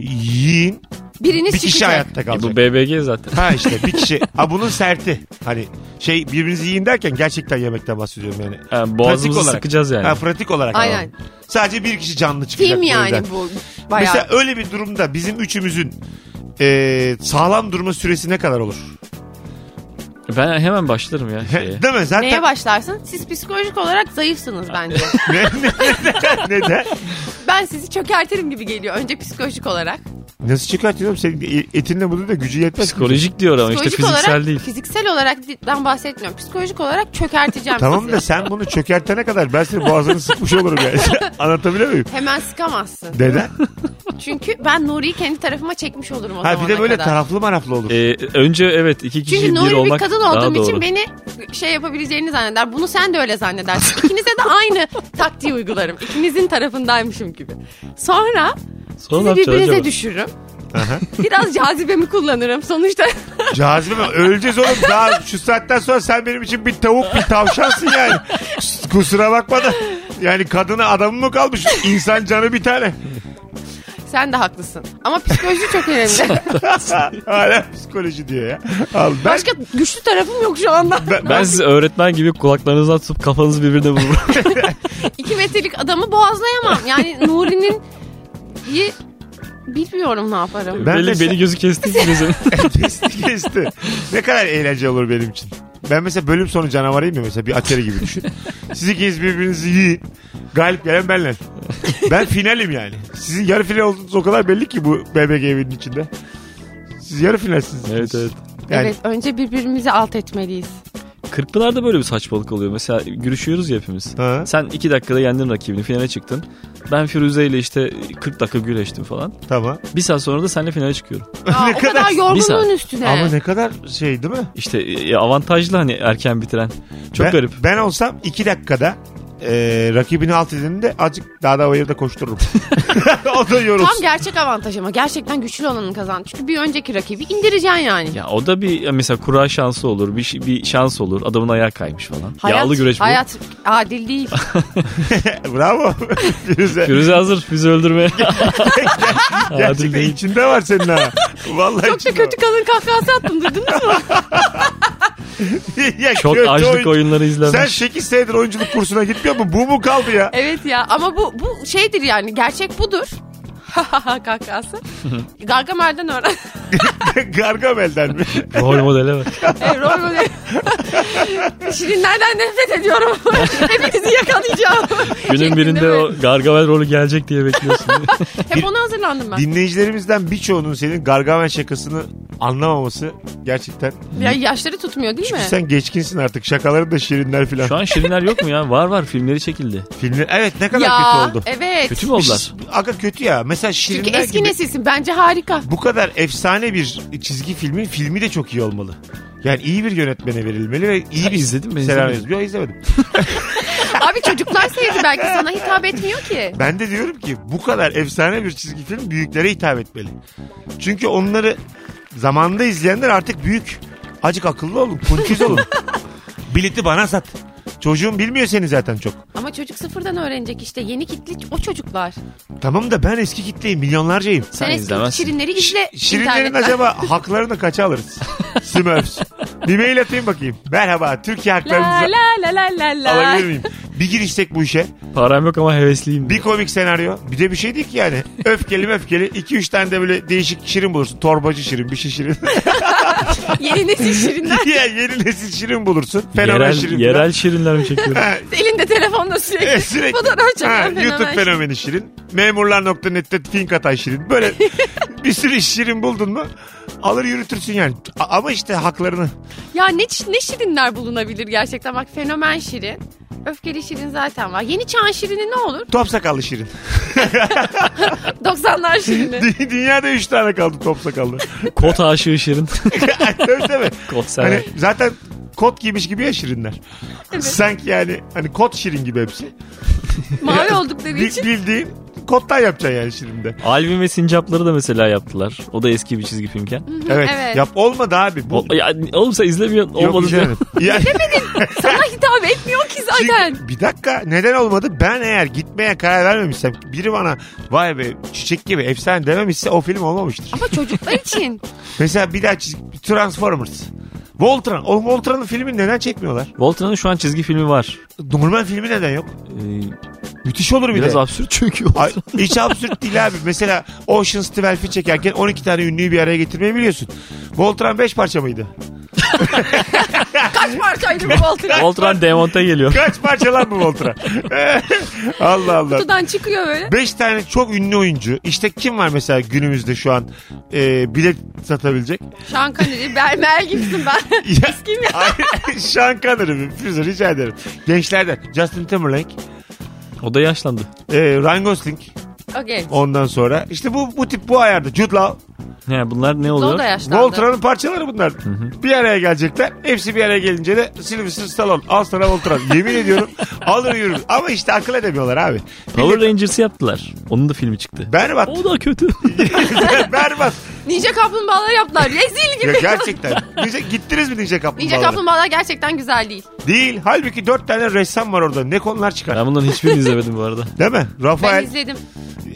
S2: yiyin.
S3: Biriniz
S2: Bir kişi
S3: çıkacak.
S2: hayatta
S4: E, bu
S2: kalacak.
S4: BBG zaten.
S2: Ha işte bir kişi. Ha bunun serti. Hani şey birbirinizi yiyin derken gerçekten yemekten bahsediyorum yani.
S4: Yani boğazımızı
S2: Pratik olarak.
S4: sıkacağız yani.
S2: Ha pratik olarak.
S3: Aynen.
S2: alalım. Sadece bir kişi canlı çıkacak.
S3: Film
S2: bu
S3: yani
S2: evden.
S3: bu. Bayağı.
S2: Mesela öyle bir durumda bizim üçümüzün e, sağlam durma süresi ne kadar olur?
S4: Ben hemen başlarım
S2: <laughs>
S4: ya şeye.
S2: Değil mi? Zaten
S3: Neye başlarsın? Siz psikolojik olarak zayıfsınız bence.
S2: ne, ne, ne, <laughs> neden?
S3: ben sizi çökertirim gibi geliyor. Önce psikolojik olarak.
S2: Nasıl çıkartıyorum? Senin e, etinle bunu da gücü yetmez. ki.
S4: Psikolojik diyor ama işte
S3: Psikolojik
S4: fiziksel
S3: olarak,
S4: değil.
S3: Fiziksel olarakdan bahsetmiyorum. Psikolojik olarak çökerteceğim
S2: Tamam
S3: sizi.
S2: da sen bunu çökertene kadar ben senin boğazını sıkmış olurum yani. <laughs> Anlatabiliyor muyum?
S3: Hemen sıkamazsın.
S2: Neden?
S3: Çünkü ben Nuri'yi kendi tarafıma çekmiş olurum o
S2: Ha bir
S3: zamana
S2: de böyle
S3: kadar.
S2: taraflı maraflı olur.
S4: Ee, önce evet iki kişi
S3: Çünkü
S4: bir
S3: Nuri bir
S4: olmak
S3: kadın
S4: daha
S3: olduğum
S4: doğru.
S3: için beni şey yapabileceğini zanneder. Bunu sen de öyle zannedersin. <laughs> İkinize de aynı taktiği uygularım. İkinizin tarafındaymışım gibi. Sonra
S4: Sonra
S3: sizi
S4: ne yapacağız
S3: birbirinize
S4: acaba?
S3: düşürürüm. <laughs> Biraz cazibemi kullanırım. Sonuçta <laughs>
S2: Cazibe mi? Öleceğiz oğlum. Daha şu saatten sonra sen benim için bir tavuk bir tavşansın yani. Kusura bakma da. Yani kadına adamı mı kalmış? İnsan canı bir tane.
S3: sen de haklısın. Ama psikoloji çok
S4: <laughs>
S3: önemli.
S2: Hala psikoloji diyor ya. Al, ben,
S3: Başka güçlü tarafım yok şu anda.
S2: ben,
S4: Ben sizi öğretmen gibi kulaklarınızdan tutup kafanızı birbirine vururum.
S3: <laughs> İki metrelik adamı boğazlayamam. Yani Nuri'nin iyi bilmiyorum ne yaparım.
S2: <laughs> Ben
S4: beni,
S2: de- şey-
S4: beni
S3: <laughs>
S4: gözü kesti ki gözü.
S2: Kesti kesti. Ne kadar eğlence olur benim için. Ben mesela bölüm sonu canavarıyım ya mesela bir atari gibi düşün. Siz ikiniz birbirinizi yiyin. Galip gelen benle. Ben finalim yani. Sizin yarı final olduğunuz o kadar belli ki bu BBG evinin içinde. Siz yarı finalsiniz.
S4: <laughs> evet evet.
S2: Yani
S3: Evet önce birbirimizi alt etmeliyiz.
S4: <laughs> Kırkpınar'da böyle bir saçmalık oluyor. Mesela gülüşüyoruz ya hepimiz.
S2: Ha.
S4: Sen iki dakikada yendin rakibini finale çıktın. Ben Firuze ile işte 40 dakika güleştim falan.
S2: tamam.
S4: Bir saat sonra da seninle finale çıkıyorum.
S3: Aa,
S2: Ne
S3: o
S2: kadar-
S3: kadar, yorgunluğun
S4: saat.
S3: üstüne.
S2: Ama ne kadar şey değil mi?
S4: İşte e, avantajlı hani erken bitiren. Çok
S2: ben,
S4: garip.
S2: Ben olsam iki dakikada e, rakibini alt edinimde azıcık daha da o yerde koştururum. <laughs> o da yorulsun.
S3: Tam gerçek avantaj ama gerçekten güçlü olanın kazan. Çünkü bir önceki rakibi indireceksin yani.
S4: Ya o da bir ya mesela kura şansı olur, bir şey- bir şans olur. Adamın ayağı kaymış falan. Yağlı güreş bu.
S3: Hayat adil
S4: <laughs>
S3: değil.
S2: Bravo. <laughs> Firuze.
S4: Firuze hazır bizi öldürmeye.
S2: <laughs>
S4: Adil
S2: Gerçekten
S4: değil.
S2: içinde var senin ha. <laughs> Vallahi
S3: Çok da
S2: içinde
S3: kötü kadın kahkahası attım duydunuz mu?
S2: var. <laughs> ya,
S4: Çok
S2: kötü
S4: açlık
S2: oyuncu.
S4: oyunları
S2: Sen <laughs>
S4: izlemiş.
S2: 8 senedir oyunculuk kursuna gitmiyor mu? Bu mu kaldı ya?
S3: evet ya ama bu bu şeydir yani gerçek budur. <laughs>
S4: <laughs>
S3: kahkahası. Gargamel'den öğren.
S2: <laughs>
S3: <laughs>
S2: Gargamel'den mi?
S4: Rol modele bak.
S3: Evet, rol <laughs> model. Şirinlerden nefret
S4: <laughs>
S3: ediyorum. Hepinizi yakalayacağım.
S4: Günün
S3: Şeklinde
S4: birinde
S3: böyle.
S4: o gargamel rolü gelecek diye bekliyorsun. <laughs>
S3: Hep ona hazırlandım ben.
S2: Dinleyicilerimizden birçoğunun senin Gargamel şakasını anlamaması gerçekten.
S3: Ya yaşları tutmuyor değil
S2: Çünkü
S3: mi?
S4: şey
S2: sen geçkinsin artık. Şakaların da şirinler filan.
S4: Şu an Şirinler yok mu ya? Var var filmleri çekildi.
S2: Filmler... Evet ne kadar
S3: ya
S2: kötü oldu.
S3: evet.
S4: Kötü mü oldular?
S2: Aga kötü ya. Mesela şirinler
S3: Çünkü eski
S2: gibi
S3: nesilsin bence harika.
S2: bu kadar efsane bir çizgi filmin filmi de çok iyi olmalı. Yani iyi bir yönetmene verilmeli ve iyi
S4: Ha,
S2: bir
S4: izledim ben,
S2: senaryo-
S4: izlemedim.
S2: Yok izlemedim.
S3: Abi çocuklar sevdi belki sana hitap etmiyor ki.
S2: Ben de diyorum ki bu kadar efsane bir çizgi film büyüklere hitap etmeli. Çünkü onları zamanında izleyenler artık büyük. Acık akıllı olun, kuntiz olun. Bileti bana sat. Çocuğum bilmiyor seni zaten çok.
S3: Ama çocuk sıfırdan öğrenecek işte yeni kitli o çocuklar.
S2: Tamam da ben eski kitleyim, milyonlarcayım.
S4: Sen
S3: Sen eski
S4: izlemezsin.
S3: şirinleri izle
S2: Şirinlerin
S3: internetten.
S2: acaba haklarını kaça alırız? Smurfs. Bir mail atayım bakayım. Merhaba, Türkiye
S3: La
S2: haklarınızı
S3: la la la la la.
S2: alabilir miyim? Bir girişsek bu işe.
S4: Param yok ama hevesliyim.
S2: Bir komik senaryo. Bir de bir şey değil ki
S3: <laughs> <laughs>
S2: yani. Öfkeli öfkeli. 2-3 tane de böyle değişik şirin <laughs> bulursun. Torbacı şirin, bir şey şirin.
S3: <laughs> Yeni nesil şirinler.
S2: ya yeni nesil şirin bulursun. Fenomen
S4: yerel,
S2: şirin. falan.
S4: yerel şirinler mi
S2: <laughs>
S4: çekiyor?
S2: Ha,
S3: Elinde telefonla
S2: e,
S3: sürekli,
S2: sürekli.
S3: fotoğraf çeken
S2: Ha,
S3: fenomen
S2: YouTube
S3: şirin.
S2: fenomeni şirin. Memurlar.net'te fink atan şirin.
S3: <laughs>
S2: Böyle bir sürü şirin buldun mu alır yürütürsün yani. A- ama işte haklarını.
S3: Ya ne, ç- ne şirinler bulunabilir gerçekten bak fenomen şirin. Öfkeli şirin zaten var. Yeni çağın şirini ne olur?
S2: Top sakallı şirin. <laughs>
S3: 90'lar şirini.
S2: Dü- Dünyada 3 tane kaldı top
S3: <laughs>
S2: sakallı. <laughs>
S4: Kot aşığı şirin. <laughs>
S2: Tabii tabii.
S4: Kot sever.
S2: Hani zaten kot giymiş gibi ya şirinler. Sanki yani hani kot şirin gibi hepsi.
S3: Mavi oldukları
S2: Bil-
S3: için.
S2: bildiğin kottan yapacaksın yani şirinde.
S4: Alvin ve Sincapları da mesela yaptılar. O da eski bir çizgi filmken.
S2: Evet.
S3: evet.
S2: Yap olmadı abi. Bu,
S4: O, ya, oğlum sen izlemiyorsun.
S2: Yok,
S4: Olmadı diyor.
S2: izlemedim. Yani-
S3: Sana hitap etmiyor ki
S2: Çünkü-
S3: zaten.
S2: bir dakika neden olmadı? Ben eğer gitmeye karar vermemişsem biri bana vay be çiçek gibi efsane dememişse o film olmamıştır.
S3: Ama
S2: <laughs>
S3: çocuklar için.
S2: Mesela bir daha çiz- Transformers. Voltron. O Voltron'un filmini neden çekmiyorlar?
S4: Voltron'un şu an çizgi filmi var.
S2: Normal filmi neden yok?
S4: Ee,
S2: Müthiş olur bir
S4: biraz
S2: de.
S4: absürt çünkü.
S2: <laughs> Ay, hiç absürt değil abi. Mesela Ocean's 12'yi çekerken 12 tane ünlüyü bir araya getirmeyi biliyorsun. Voltron 5 parça mıydı?
S3: Kaç parçaydı <laughs> bu altın?
S4: Voltron demonte geliyor.
S2: Kaç parça lan bu Voltron? <laughs> Allah Allah.
S3: Kutudan çıkıyor böyle.
S2: Beş tane çok ünlü oyuncu. İşte kim var mesela günümüzde şu an e, bilet
S3: <laughs>
S2: satabilecek?
S3: Sean Connery, Mel, Mel Gibson ben. <laughs>
S2: Ya,
S3: Kim ya?
S2: Ay, Sean Connery mi? Firuze rica ederim. Gençlerden Justin Timberlake,
S4: O da yaşlandı.
S2: e, Ryan Gosling
S3: Okey.
S2: ondan sonra. İşte bu bu tip bu ayarda. Jude Law,
S4: He, bunlar ne
S3: O
S4: oluyor?
S3: da yaşlandı.
S2: Voltron'un parçaları bunlar. Bir araya gelecekler. Hepsi bir araya gelince de Sylvester Stallone. Al sana Voltron. Yemin ediyorum alır yürür. Ama işte akıl edemiyorlar abi.
S4: Power Rangers'ı yaptılar. Onun da filmi çıktı.
S2: Berbat. <laughs>
S3: <laughs>
S4: O da kötü.
S2: Berbat.
S3: Ninja kaplumbağalar yaptılar. Rezil
S2: <laughs> Ya
S3: gibi.
S2: gerçekten. Ninja- gittiniz mi Ninja
S3: Ninja
S2: Kaplumbağalara?
S3: kaplumbağalar gerçekten güzel değil.
S2: Değil. Halbuki dört tane ressam var orada. Ne konular çıkar.
S4: ben bunların hiçbirini izlemedim bu arada.
S2: Değil mi?
S3: Ben
S2: Rafael.
S3: izledim.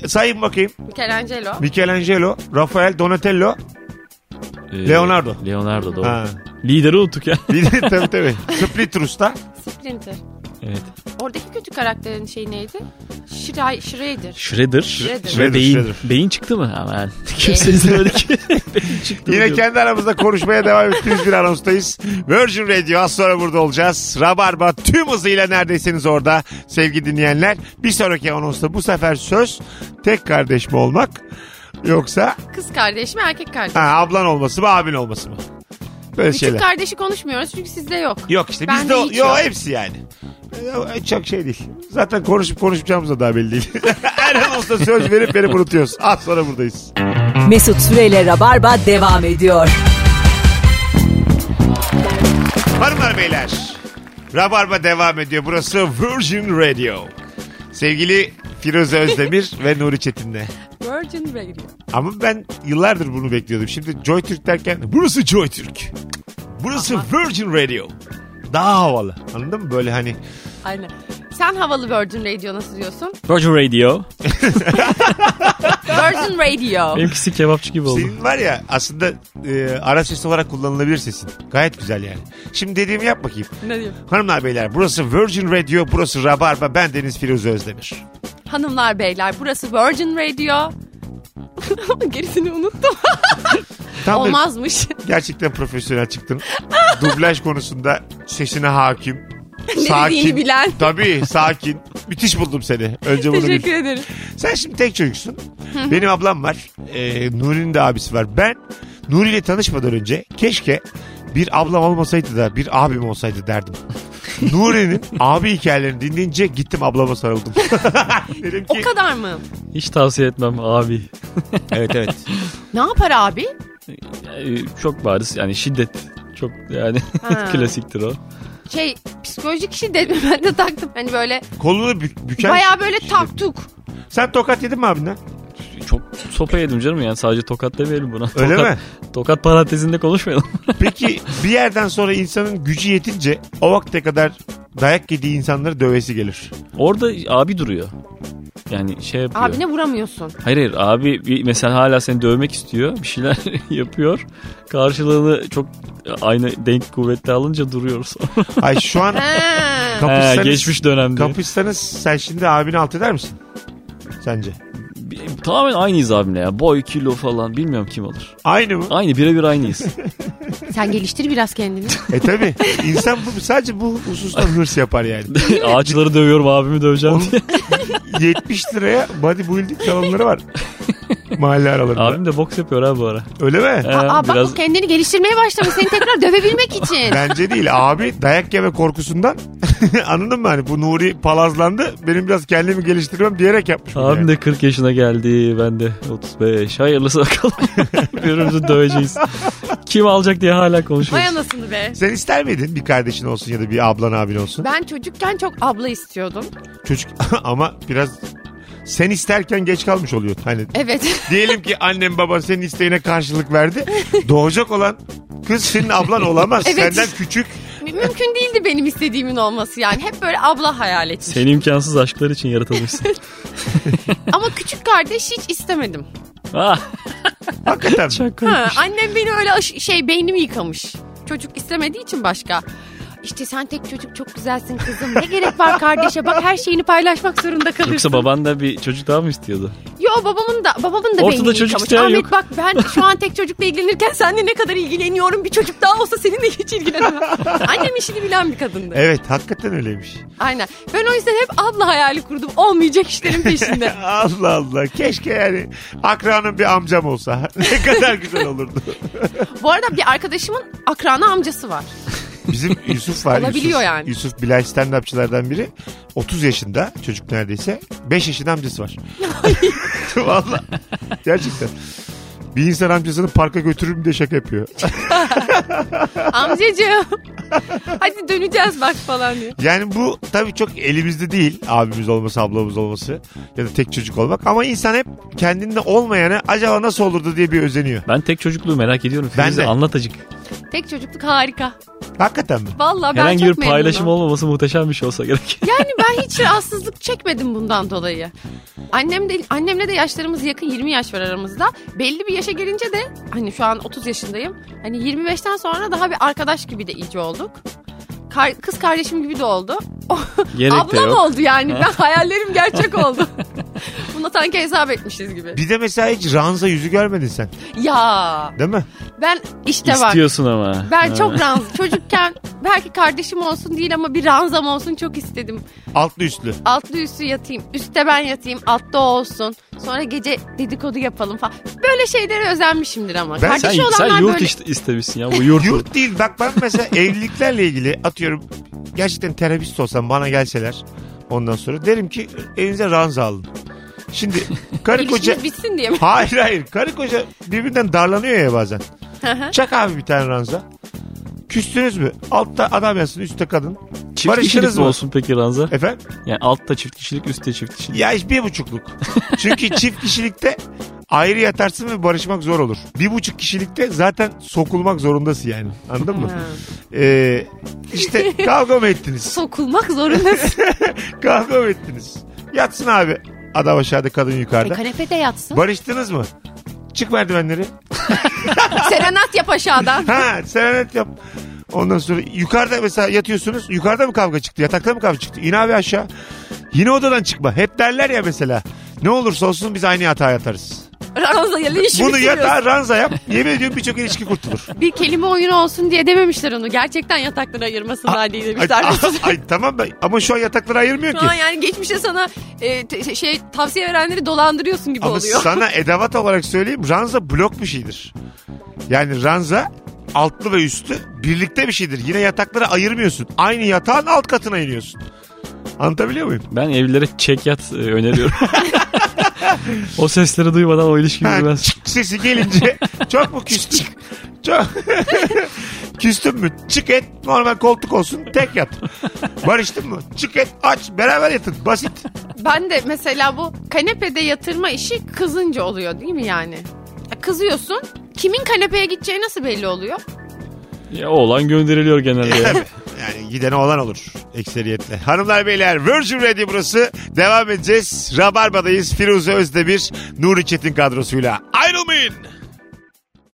S2: Sayın bakayım.
S3: Michelangelo.
S2: Michelangelo, Rafael, Donatello.
S4: Ee,
S2: Leonardo.
S4: Leonardo doğru.
S2: Ha.
S4: Lideri unuttuk ya.
S2: Bir de tabii tabii. Split Rus'ta.
S3: Splinter.
S4: evet.
S3: Oradaki kötü karakterin şey neydi? Şiray, Shredder.
S4: Shredder.
S3: Shredder.
S4: Ve
S2: Shredder,
S4: beyin.
S2: Shredder.
S4: Beyin çıktı mı? Aman. Kimse
S2: <laughs>
S4: izlemedi ki. beyin çıktı mı
S2: Yine
S4: diyorum.
S2: kendi aramızda konuşmaya devam ettiğimiz bir anonstayız. Virgin Radio az sonra burada olacağız. Rabarba tüm hızıyla neredesiniz orada sevgili dinleyenler. Bir sonraki anonsta bu sefer söz tek kardeş mi olmak yoksa
S3: Kız kardeş mi erkek kardeş? mi?
S2: ha, ablan olması mı abin olması mı? Böyle
S3: Küçük
S2: şeyler.
S3: kardeşi konuşmuyoruz çünkü sizde yok.
S2: Yok işte
S3: Ben
S2: bizde
S3: de
S2: o-
S3: hiç
S2: yo,
S3: yok.
S2: hepsi yani. Yo, Çok şey değil. Zaten konuşup konuşmayacağımız da daha belli değil. <laughs> Her an olsa söz verip verip unutuyoruz. Az sonra buradayız.
S1: Mesut Süreyle Rabarba devam ediyor.
S2: Hanımlar beyler. Rabarba devam ediyor. Burası Virgin Radio. Sevgili Firuze
S3: <laughs>
S2: Özdemir ve Nuri Çetin'le.
S3: Virgin Radio.
S2: Ama ben yıllardır bunu bekliyordum. Şimdi Joy Türk derken burası Joy Türk. Burası Virgin Radio. Daha havalı. Anladın mı? Böyle hani
S3: Aynen. Sen havalı Virgin Radio nasıl diyorsun?
S4: Virgin Radio.
S3: Virgin
S4: <laughs>
S3: Radio.
S4: Benimkisi kebapçı gibi oldu.
S2: Senin var ya aslında e, ara ses olarak kullanılabilir sesin. Gayet güzel yani. Şimdi dediğimi yap bakayım.
S3: ne diyeyim?
S2: Hanımlar beyler burası Virgin Radio, burası Rabarba. Ben Deniz Firuze Özdemir.
S3: Hanımlar beyler burası Virgin Radio. <laughs> Gerisini unuttum.
S2: Tam bir-
S3: Olmazmış.
S2: gerçekten profesyonel çıktın. <laughs> Dublaj konusunda sesine
S3: <laughs>
S2: hakim.
S3: dediğini bilen.
S2: Tabii sakin. Müthiş buldum seni. Önce bunu bil.
S3: Teşekkür ederim.
S2: Sen şimdi tek çocuksun. Benim ablam var. Ee, Nuri'nin de abisi var. Ben Nuri ile tanışmadan önce keşke bir ablam olmasaydı da bir abim olsaydı
S3: <laughs>
S2: derdim. Nuri'nin abi hikayelerini dinleyince gittim ablama sarıldım.
S3: <laughs>
S2: Dedim
S3: O
S2: ki
S3: kadar mı?
S4: Hiç tavsiye etmem abi.
S2: evet evet.
S3: Ne yapar abi?
S4: Yani e, çok bariz yani şiddet çok yani
S3: Ha.
S4: <laughs> klasiktir o.
S3: Şey psikolojik şiddet mi <laughs> ben de taktım. Hani böyle
S2: Kolunu bü- büker.
S3: baya böyle taktuk.
S2: Sen tokat yedin mi abinden?
S4: Çok sopa yedim canım yani sadece tokat demeyelim buna.
S2: Öyle
S4: tokat,
S2: mi?
S4: Tokat parantezinde konuşmayalım. <laughs>
S2: Peki bir yerden sonra insanın gücü yetince o vakte kadar dayak yediği insanları dövesi gelir.
S4: Orada abi duruyor. Yani şey yapıyor.
S3: Abine vuramıyorsun.
S4: Hayır hayır abi bir- mesela hala seni dövmek istiyor. Bir şeyler <laughs> yapıyor. Karşılığını çok aynı denk kuvvette alınca duruyoruz.
S2: Ay şu
S3: <laughs>
S2: an
S3: Ha.
S4: He,
S2: Ee, kapışsanız,
S4: geçmiş dönemde.
S2: kapışsanız sen şimdi abini alt eder misin? Sence?
S4: bir- tamamen aynıyız abimle ya. Boy, kilo falan bilmiyorum kim alır.
S2: Aynı
S4: <laughs>
S2: mı?
S4: Aynı
S3: <laughs>
S4: birebir aynıyız.
S3: Sen geliştir biraz kendini.
S2: E tabi. İnsan bu, sadece bu hususta hırs yapar yani.
S4: Ağaçları dövüyorum abimi döveceğim
S2: Onun
S4: diye.
S2: 70 liraya bodybuilding salonları var. Mahalle aralarında.
S4: Abim de boks yapıyor abi bu ara.
S2: Öyle mi?
S4: Ee,
S3: Aa, bak
S4: biraz
S3: bu kendini geliştirmeye başlamış seni tekrar dövebilmek için.
S2: Bence değil. Abi dayak yeme korkusundan <laughs> anladın mı? Hani bu Nuri palazlandı. Benim biraz kendimi geliştirmem diyerek yapmış. bunu
S4: Abim
S2: yani.
S4: de 40 yaşına geldi. Ben de 35.
S2: <laughs>
S4: Hayırlısı bakalım. Birbirimizi döveceğiz. Kim alacak diye hala
S3: Vay
S4: konuşuyoruz.
S3: anasını be.
S2: Sen ister miydin bir kardeşin olsun ya da bir ablan abin olsun?
S3: Ben çocukken çok abla istiyordum.
S2: Çocuk <laughs> ama biraz sen isterken geç kalmış oluyor. Hani
S3: Evet. <laughs>
S2: diyelim ki annem baban senin isteğine karşılık verdi. Doğacak olan kız senin ablan olamaz.
S3: Evet.
S2: Senden küçük.
S3: Mü- Mümkün değildi benim istediğimin olması yani. Hep böyle abla hayal etmiş.
S4: Seni imkansız aşklar
S3: <laughs>
S4: için yaratılmışsın.
S3: Ama küçük kardeş hiç istemedim.
S4: ah,
S3: <laughs>
S2: Hakikaten.
S3: Ha,
S4: şakaymış.
S3: annem beni öyle aş- şey beynimi yıkamış. Çocuk istemediği için başka. İşte sen tek çocuk çok güzelsin kızım. Ne gerek var kardeşe? Bak her şeyini paylaşmak zorunda kalırsın.
S4: Yoksa baban da bir çocuk daha mı istiyordu?
S3: Yo babamın da babamın da
S4: Ortada
S3: beynini
S4: çocuk
S3: yıkamış.
S4: isteyen
S3: Ahmet
S4: yok.
S3: bak ben şu an tek çocukla ilgilenirken seninle ne kadar ilgileniyorum. Bir çocuk daha olsa seninle hiç ilgilenemem. Annem işini bilen bir
S4: E-
S3: kadındı.
S2: Evet hakikaten öyleymiş.
S3: Aynen. Ben o yüzden hep abla hayali kurdum. Olmayacak işlerin peşinde.
S2: Allah Allah. Keşke yani akranın bir amcam olsa. <laughs> ne kadar güzel olurdu.
S3: Bu arada bir arkadaşımın akrana amcası var.
S2: Bizim Yusuf var.
S3: Olabiliyor
S2: Yusuf,
S3: yani.
S2: Yusuf Bilal stand-upçılardan biri. 30 yaşında çocuk neredeyse. 5 yaşında amcası var. <laughs> Valla. Gerçekten. Bir insan amcasını parka götürürüm diye şaka yapıyor.
S3: Amcacığım. Hadi döneceğiz bak falan diyor.
S2: Yani bu tabii çok elimizde değil abimiz olması ablamız olması ya da tek çocuk olmak ama insan hep kendinde olmayana acaba nasıl olurdu diye bir özeniyor.
S4: Ben tek çocukluğu merak ediyorum.
S2: Ben
S4: Firuze
S2: de.
S4: anlat acık.
S3: Tek çocukluk harika.
S2: Hakikaten mi?
S3: Vallahi ben
S4: Herhangi
S3: çok
S4: bir paylaşım
S3: memnunum.
S4: olmaması muhteşem bir şey olsa gerek.
S3: Yani ben hiç rahatsızlık çekmedim bundan dolayı. Annem de annemle de yaşlarımız yakın 20 yaş var aramızda. Belli bir yaşa gelince de hani şu an 30 yaşındayım. Hani 25'ten sonra daha bir arkadaş gibi de iyice olduk. Kar- kız kardeşim gibi de oldu.
S4: <laughs> Gerek de
S3: Ablam
S4: yok.
S3: oldu yani. Ben hayallerim gerçek
S4: <laughs>
S3: oldu. Buna sanki hesap etmişiz gibi.
S2: Bir de mesela hiç ranza yüzü görmedin sen
S3: Ya
S2: değil mi?
S3: ben işte var.
S4: İstiyorsun ama.
S3: Ben
S4: Ha.
S3: çok ranz. Çocukken belki kardeşim olsun değil ama bir ranzam olsun çok istedim.
S2: Altlı üstlü.
S3: Altlı üstü yatayım. Üste ben yatayım. Altta o olsun. Sonra gece dedikodu yapalım falan. Böyle şeylere özenmişimdir ama.
S2: Ben-
S4: Sen,
S3: Kardeşi
S4: sen
S3: olanlar
S4: yurt
S3: böyle.
S4: işte- istemişsin ya bu yurt.
S2: Yurt değil bak ben mesela evliliklerle ilgili atıyorum gerçekten terapist olsam bana gelseler ondan sonra derim ki elinize ranza alın. Şimdi karı koca
S3: İlişkiniz bitsin diye mi? <laughs>
S2: hayır hayır karı koca birbirinden darlanıyor ya bazen. Çak abi bir tane ranza. Küstünüz mü? Altta adam yatsın üstte kadın.
S4: Çift
S2: Barışırız
S4: kişilik mi
S2: mı?
S4: olsun peki Ranza?
S2: Efendim?
S4: Yani altta çift kişilik üstte çift kişilik.
S2: Ya iş bir buçukluk. Çünkü çift kişilikte ayrı yatarsın ve barışmak zor olur. Bir buçuk kişilikte zaten sokulmak zorundasın yani. Anladın mı?
S3: Ha.
S2: Ee, işte kavga mı ettiniz?
S3: Sokulmak zorundasın.
S2: Kavga mı ettiniz? Yatsın abi. Adam aşağıda kadın
S3: e,
S2: yukarıda.
S3: kanepede yatsın.
S2: Barıştınız mı? Çık merdivenleri.
S3: Serenat yap aşağıdan.
S2: Ha serenet yap. Ondan sonra yukarıda mesela yatıyorsunuz. Yukarıda mı kavga çıktı? Yatakta mı kavga çıktı? İn abi aşağı. Yine odadan çıkma. Hep derler ya mesela. Ne olursa olsun biz aynı yatağa yatarız.
S3: Ranza ile işimi
S2: Bunu
S3: bitiriyorsun.
S2: yatağa ranza yap. Yemin ediyorum birçok ilişki kurtulur.
S3: Bir kelime oyunu olsun diye dememişler onu. Gerçekten yataklara ayırmasınlar diye
S2: Ay,
S3: demişler.
S2: ay, tamam da ama şu an yatakları ayırmıyor ki.
S3: Şu an yani geçmişte sana e, te- şey tavsiye verenleri dolandırıyorsun gibi
S2: Ama
S3: oluyor.
S2: sana edevat olarak söyleyeyim ranza blok bir şeydir. Yani ranza altlı ve üstlü birlikte bir şeydir. Yine yatakları ayırmıyorsun. Aynı yatağın alt katına iniyorsun. Anlatabiliyor muyum?
S4: Ben evlilere çek yat e, öneriyorum. o sesleri duymadan o ilişki
S2: Ha,
S4: bilmez.
S2: çık sesi gelince çok mu küstün? <laughs> çok... Küstün mü? Çık et normal koltuk olsun tek yat. Barıştın mı? Çık et aç beraber yatın basit.
S3: Ben de mesela bu kanepede yatırma işi kızınca oluyor değil mi yani? Ya Kızıyorsun. Kimin kanepeye gideceği nasıl belli oluyor?
S4: Ya oğlan gönderiliyor genelde. ya.
S2: Tabii. Yani gidene olan olur ekseriyetle. Hanımlar beyler Virgin Radio burası. Devam edeceğiz. Rabarba'dayız. Firuze Özdemir, Nuri Çetin kadrosuyla. Ayrılmayın.